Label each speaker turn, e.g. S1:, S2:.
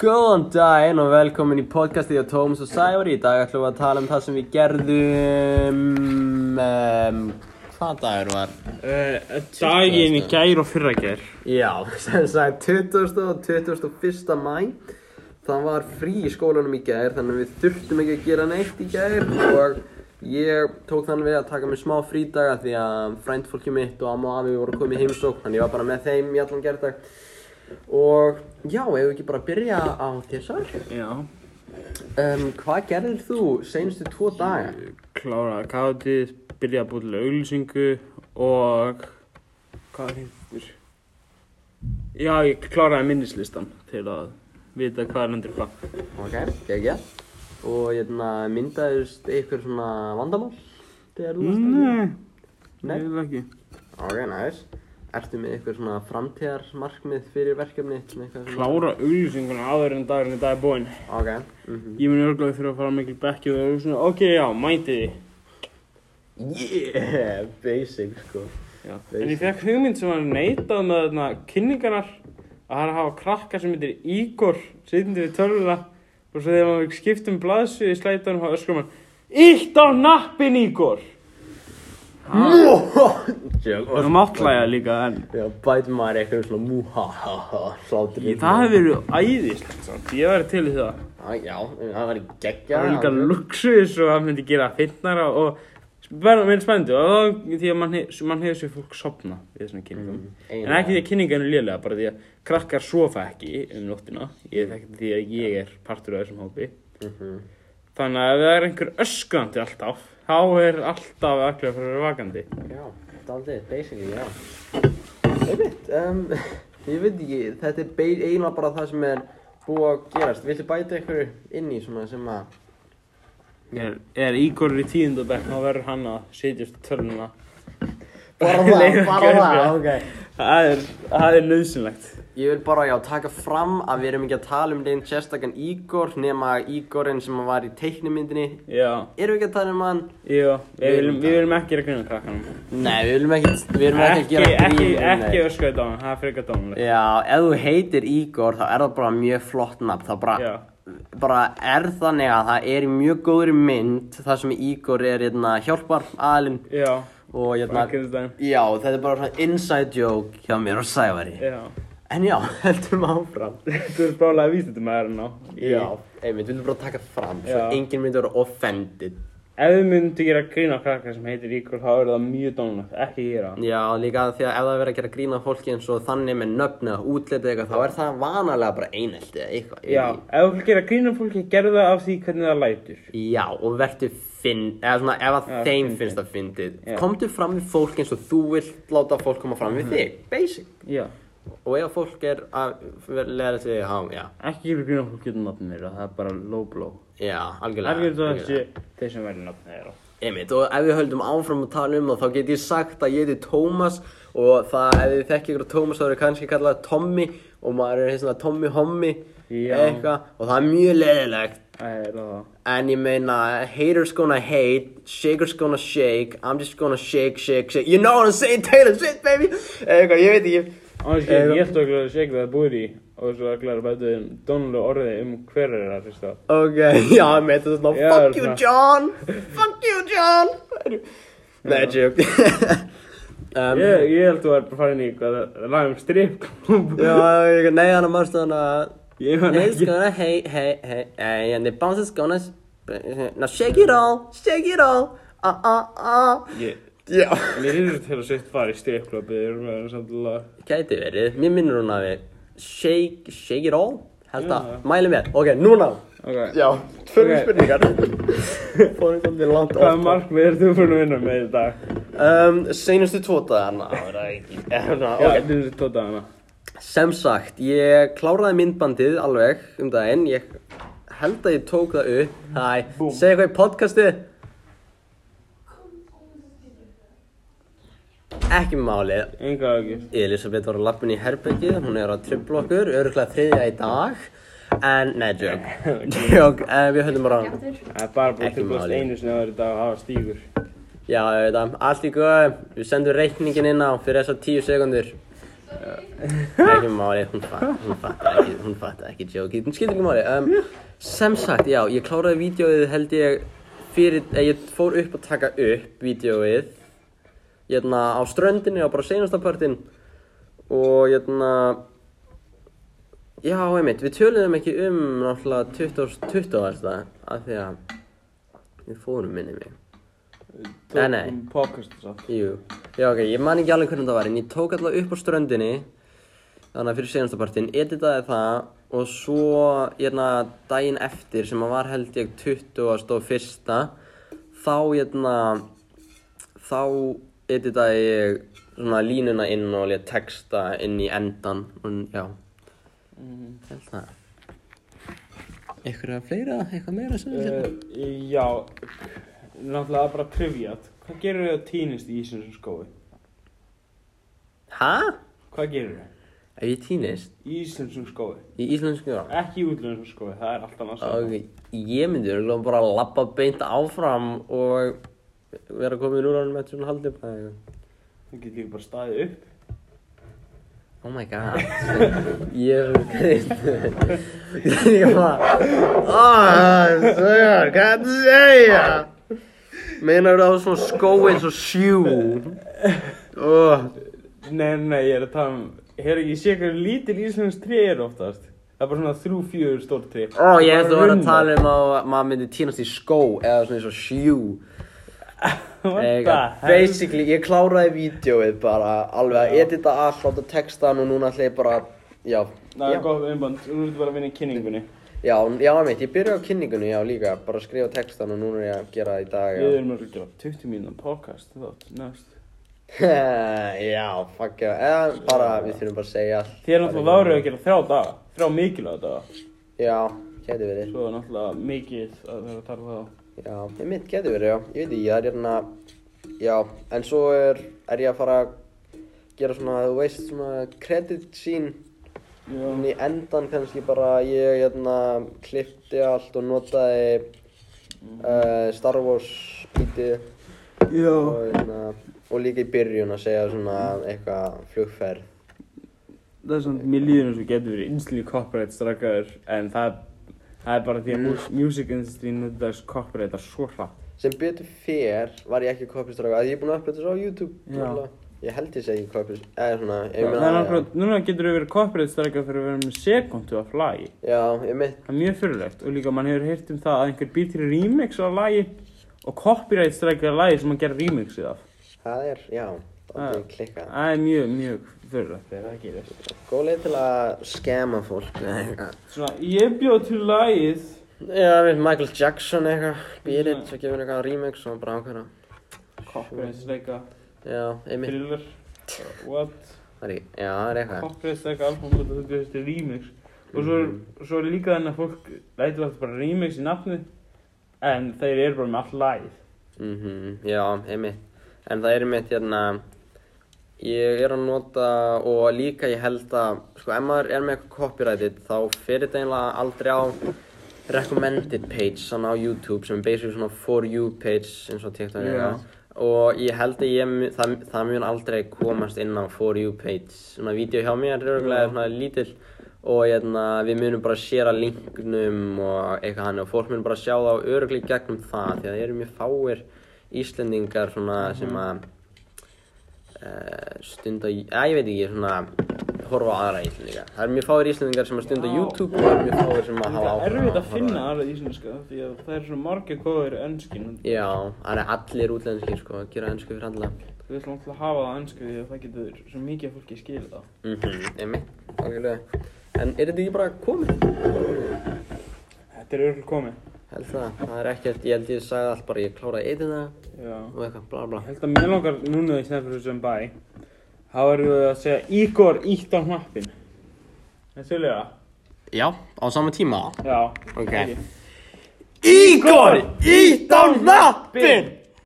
S1: Góðan daginn og velkomin í podcastið á Tóms og Sævari Í dag ætlum við að tala um það sem við gerðum um, Hvað dagur var?
S2: Uh, daginn í gær og fyrragær
S1: Já, sem sagt 20. og 21. mæ Það var frí í skólanum í gær Þannig að við þurftum ekki að gera neitt í gær Og ég tók þannig við að taka mér smá frídaga Því að frændfólki mitt og amma og afi voru komið í heimsókn Þannig ég var bara með þeim í allan gerðdag Og já, ef við ekki bara byrja á þessar
S2: Já
S1: Um, hvað gerðir þú seinustu tvo daga?
S2: Klára káttið, byrja að búið til auglýsingu og Hvað er hittur? Já, ég kláraði minnislistan til að vita hvað er hendur hvað
S1: Ok, geggja. Og hérna, myndaðist ykkur svona vandamál? Þegar þú varst að gera?
S2: Nei,
S1: Nei.
S2: ég vil ekki
S1: Ok, næs. Ertu með ykkur svona framtíðarmarkmið fyrir verkefni? Svona eitthvað svona-
S2: Klára auglýsinguna áður en dagurinn í dag er búinn
S1: Ok, mhm.
S2: Ég mun örglega þurfa að fara mikil bekkið og auglýsinguna Ok, já, mæti því
S1: Yeah, basic sko.
S2: Já. En ég fekk hugmynd sem var neitað með þarna kynningarnar að það er að hafa krakka sem heitir Ígor sitjandi við tölvuna og svo þegar maður skiptum blaðsu í slætunum og öskrum hann Ítt á nappin Ígor!
S1: Joke.
S2: Og það máttlæja líka en
S1: Já, bætum maður eitthvað svona múhahaha hlátur.
S2: það hefur verið æðislegt samt, ég væri til í það
S1: Ah, já, það var geggja.
S2: Það var líka luxus og það myndi gera fyndnara og verða meira spennandi og þá- því að mann hef- mann hefur sér fólk sopna við þessum kynningum en ekki því að kynningan er lélega bara því að krakkar sofa ekki um nóttina ég er ekki því að ég er partur af þessum hópi Mhm. þannig að ef það er einhver öskrandi alltaf þá er alltaf öklega fyrir að vera vakandi
S1: Já, daldið, basically, já. Einmitt, um, ég veit ekki, þetta er bei- eiginlega bara það sem er búið að gerast. Viltu bæta einhverju inn í svona sem að...
S2: er, er Ígor í tíundabæk þá verður hann að setjast í tölvuna
S1: Bara það,
S2: Leiða
S1: bara það,
S2: görfi.
S1: ok.
S2: það er, það er nöðsynlegt
S1: Ég vil bara, já, taka fram að við erum ekki að tala um neinn sérstakann Ígor, nema Ígorinn sem var í teiknimyndinni.
S2: já,
S1: Erum við ekki að tala um hann?
S2: já, við viljum, við viljum ekki reglum krakkanum
S1: Nei, við viljum ekki, við erum ekki að
S2: ekki,
S1: gera
S2: ekki,
S1: grín um
S2: ekki
S1: neinn.
S2: öskraði dánan, það er frekar dánulegt
S1: Já, ef þú heitir Ígor þá er það bara mjög flott nafn þá bara,
S2: Já.
S1: bara er þannig að það er í mjög góðri mynd þar sem Ígor er hérna, hjálpar aðlinn
S2: Já,
S1: og hérna
S2: Frankenstein
S1: Já, þetta er bara svona inside joke hjá mér og Sævari
S2: Já,
S1: En já, heldum áfram
S2: þú er brálega vísindumæðurinn á í-
S1: Já, einmitt, við viljum bara taka fram svo
S2: Já.
S1: enginn myndi vera offended
S2: Ef við myndum gera grín á krakka sem heitir Ígor þá er það mjög dánulegt, ekki gera það.
S1: Já, líka því að ef það er verið að gera grína fólki eins og þannig með nöfnu og útlitið eitthvað þá er það vanalega bara eineltið eða eitthvað
S2: Já, ef þú vilt gera grín á fólki, gerðu það af því hvernig það lætur
S1: Já, og verður finn, eða svona ef að
S2: Já,
S1: þeim
S2: fyndið.
S1: finnst það fyndið
S2: Já. Mhm.
S1: Komdu fram við fólk eins og þú vilt láta fólk koma fram við þig, basic
S2: Já,
S1: Og ef fólk er að leða sig, já, já,
S2: ekki gera grín á fólki út af nafnum þeirra, það er bara low blow
S1: já, algjörlega
S2: Það er það
S1: algjörlega.
S2: þessi, þeir sem verður nafnum þeirra
S1: Einmitt, og ef við höldum áfram að tala um það þá get ég sagt að ég heiti Tómas Og það, ef þið þekki ykkur á Tómas þá eru kannski kallað Tommy Og maður er hérna Tommy Hommy,
S2: Já.
S1: eitthvað Og það er mjög leðilegt
S2: Það er það
S1: En ég meina, haters gonna hate, shakers gonna shake, I'm just gonna shake, shake, shake. You know what I'm saying, Taylor Swift, baby? Eða eitthvað, ég veit ekki.
S2: Annars getur ég eftir að segja hvað það búið í og svo að klara bæta um dónulega orði um hver er það fyrst það
S1: Ok, já, ég meina þetta svona,
S2: Já,
S1: fuck you,
S2: svona.
S1: John, fuck you, John. Nei, joke. um,
S2: Ég, ég held þú var bara farin í eitthvað lag um stripklub
S1: Já, ég- nei, hann er margst þannig að...
S2: Ég man
S1: Haters
S2: ekki
S1: gonna hate, hate, hate, hey, and the bouncers gonna... s- Now shake it all, shake it all, ah, ah, ah.
S2: Ég,
S1: Já.
S2: en ég hefði til að setja fara í stripklub eða erum við erum samtilega
S1: Gæti verið, mér minnur hún að við Shake, shake it all Held að,
S2: Já.
S1: mæli með, ok, núna
S2: Ok,
S1: Já, tvö
S2: Ok.
S1: spurningar Fórum svolítið langt
S2: hvaða
S1: oft
S2: markmið er þú fyrir að vinna með í dag?
S1: um, Seinustu tvo dagana það var ekki- Hérna,
S2: Já,
S1: ok.
S2: þetta er tóta hana
S1: Sem sagt, ég kláraði myndbandið alveg um daginn Ég held að ég tók það upp Hæ,
S2: Búm.
S1: segja eitthvað í podcastið Ekki málið
S2: Enga ekki
S1: Elisabeth var að lappin í herbergið, hún er að trubla okkur, öruglega þriðja í dag, en, nei, joke, joke, en við höldum bara,
S2: Það er bara búið
S1: Ekki
S2: til blast
S1: máli.
S2: einu sinni að vera í dag að hafa stígur
S1: já, þetta, allt í góð, við sendum reikningin inn á fyrir þessar tíu sekundur, Það er ekki máli, hún fatt- hún fattar ekki, hún fattar ekki jókið, hún skilur ekki máli. Um, sem sagt, já, ég kláraði vídeoið held ég fyrir, eh, ég fór upp að taka upp vídeoið, hérna á ströndinni og bara seinasta partinn og hérna, já, einmitt, við töluðum ekki um náttúrulega 2020 alls það, af því að við fórum minni mig. Nei, nei.
S3: Tókum podcast og satt.
S1: Jú, já ok, ég man ekki alveg hvernig það var en ég tók alltaf upp á ströndinni þannig að fyrir senastapartin, editaði það og svo hérna daginn eftir sem að var held ég 20. og fyrsta þá hérna þá editaði ég svona línuna inn og létt texta inn í endan og já, held það Eitthvað fleira, eitthvað meira sem við
S2: Uh,
S1: getum?
S2: já, náttúrulega bara trivjat. Hvað gerir þau að týnist í ísins og skói?
S1: Hæ?
S2: Hvað gerir þau?
S1: Ef ég týnist
S2: Í ísins og skói.
S1: í íslensku já
S2: Ekki í útlunum og skói, það er alltaf náttúrulega.
S1: Og ég myndi örugglega bara að labba beint áfram og vera komin úr ánum eftir svona haldið bara eitthvað.
S2: Það getur líka bara staðið upp.
S1: Oh my god, ég er svo kreist. ég bara, aaaah, Svegar, hvað er þetta að segja? Meinar það á svona skó eins og sjú? Oh.
S2: Nei, nei, nei, ég er að tala um, herru, ég sé hvernig lítil íslensk tré er oftast. Það er bara svona þrjú, fjögur stór tré.
S1: Ó, ég hefði að vera að tala um að maður myndi týnast í skó eða svona eins og sjú.
S2: What the
S1: Eiga,
S2: hell?
S1: basically, ég kláraði vídeoið bara alveg að edita allt, láta textan og núna ætla ég bara, já,
S2: Það
S1: já,
S2: er gott umband, nú ertu bara að vinna í kynningunni.
S1: já, já, mitt, ég byrja á kynningunni, já, líka, bara að skrifa textan og núna er ég að gera það í dag,
S2: Við erum að gera 20 mínúna podcast, þátt, næst.
S1: já, já, fuck já, eða bara, við þurfum bara að segja allt,
S2: Þið er náttúrulega várið að gera þrjá daga, þrjá mikilvæga daga.
S1: já, getur verið,
S2: Svo er náttúrulega mikið að vera að tala um þá.
S1: já, ég mitt, getur verið, já, ég veit ekki, það er hérna, já, en svo er, er ég að fara að gera svona, þú veist, svona credit scene,
S2: Já,
S1: En í endan kannski bara ég hérna klippti allt og notaði
S2: Mm.
S1: uh, Star Wars bítið
S2: já.
S1: og, hérna, og líka í byrjun að segja svona eitthvað flugferð.
S2: það er svona, mér líður eins og getur verið instantly copyright strakaður, en það, það er bara því að mm. music industry nöndar copyright að svo hratt.
S1: Sem betur fer var ég ekki kopistráka að ég er búinn að upplöta þessu á YouTube.
S2: Já.
S1: náttúrulega. Ég held ég segi kopist, eða svona, ég
S2: Það er
S1: meina,
S2: náttúrulega, núna getur við verið copyright strakaður fyrir að vera með sekundu af lagi.
S1: já, já, ég mitt,
S2: Það er mjög fyrirlegt og líka mann hefur heyrt um það að einhver býr til remix af lagi og copyright strakaður lagi sem hann gerir remixið af.
S1: það er, já, það
S2: Já.
S1: er klikkað.
S2: Það er mjög, mjög fyrirlegt þegar það gerist.
S1: Góð leið til að skema fólk eða eitthvað.
S2: Svona, ég bjóð til lagið
S1: Já, við Michael Jackson eitthvað, beat it, svo gefur hann eitthvað remix og bara ákvæða.
S2: Copyright straka,
S1: Já, einmitt.
S2: thriller, Uh, what?
S1: Það er í- Já, það er eitthvað.
S2: Copyright straka album og þetta bjóðist til remix Og svo er, svo er líka þannig að fólk lætur alltaf bara remix í nafni En þeir eru bara með allt lagið
S1: Mhm, já, einmitt. En það er einmitt hérna, ég er að nota og líka ég held að, sko, ef maður er með eitthvað copyrighted þá fer þetta eiginlega aldrei á recommended page svona á YouTube sem er basically svona for you page eins og TikTok er
S2: Já.
S1: það. Og ég held að ég, mu- það, það mun aldrei komast inn á for you page. Svona vídeo hjá mér er
S2: Já.
S1: örgulega svona lítill og hérna, við munum bara séra linknum og eitthvað hann og fólk mun bara sjá það öruglega í gegnum það því að það eru mjög fáir Íslendingar svona
S2: Mhm.
S1: sem að uh, stunda, að ég veit ekki, svona horfa á aðra Íslendinga. Það eru mjög fáir Íslendingar sem að stunda
S2: Já.
S1: YouTube og það eru mjög fáir sem að hafa áhuga
S2: Það er
S1: á
S2: erfitt að
S1: horfa á
S2: finna
S1: aðra.
S2: aðra íslenska Því að það er svona margir góður önskin
S1: Já, það er allir útlenskir sko, að gera ennsku fyrir alla.
S2: Við ætlum alltaf að hafa það önsku því að það getur svo mikið af fólki skil það
S1: Mhm, emmi, okkurlega. En er þetta ekki bara komið?
S2: Þetta er örgulega komið
S1: Held það, það er ekkert, ég held ég sagði allt bara, ég kláraði eitt það
S2: Já
S1: og eitthvað, bla bla.
S2: Ég held að mér langar núna í snæður sem bæ Þá erum við að segja Ígor ítt á hnappin Þetta er lega
S1: Já, á sama tíma?
S2: Já
S1: Ok.
S2: ekki.
S1: Ígor, ítt á hnappinn!